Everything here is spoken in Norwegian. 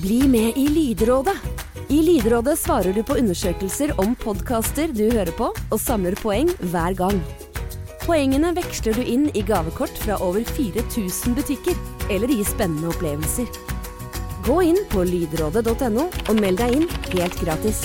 Bli med i Lydrådet. I Lydrådet svarer du på undersøkelser om podkaster du hører på, og samler poeng hver gang. Poengene veksler du inn i gavekort fra over 4000 butikker, eller i spennende opplevelser. Gå inn på lydrådet.no og meld deg inn helt gratis.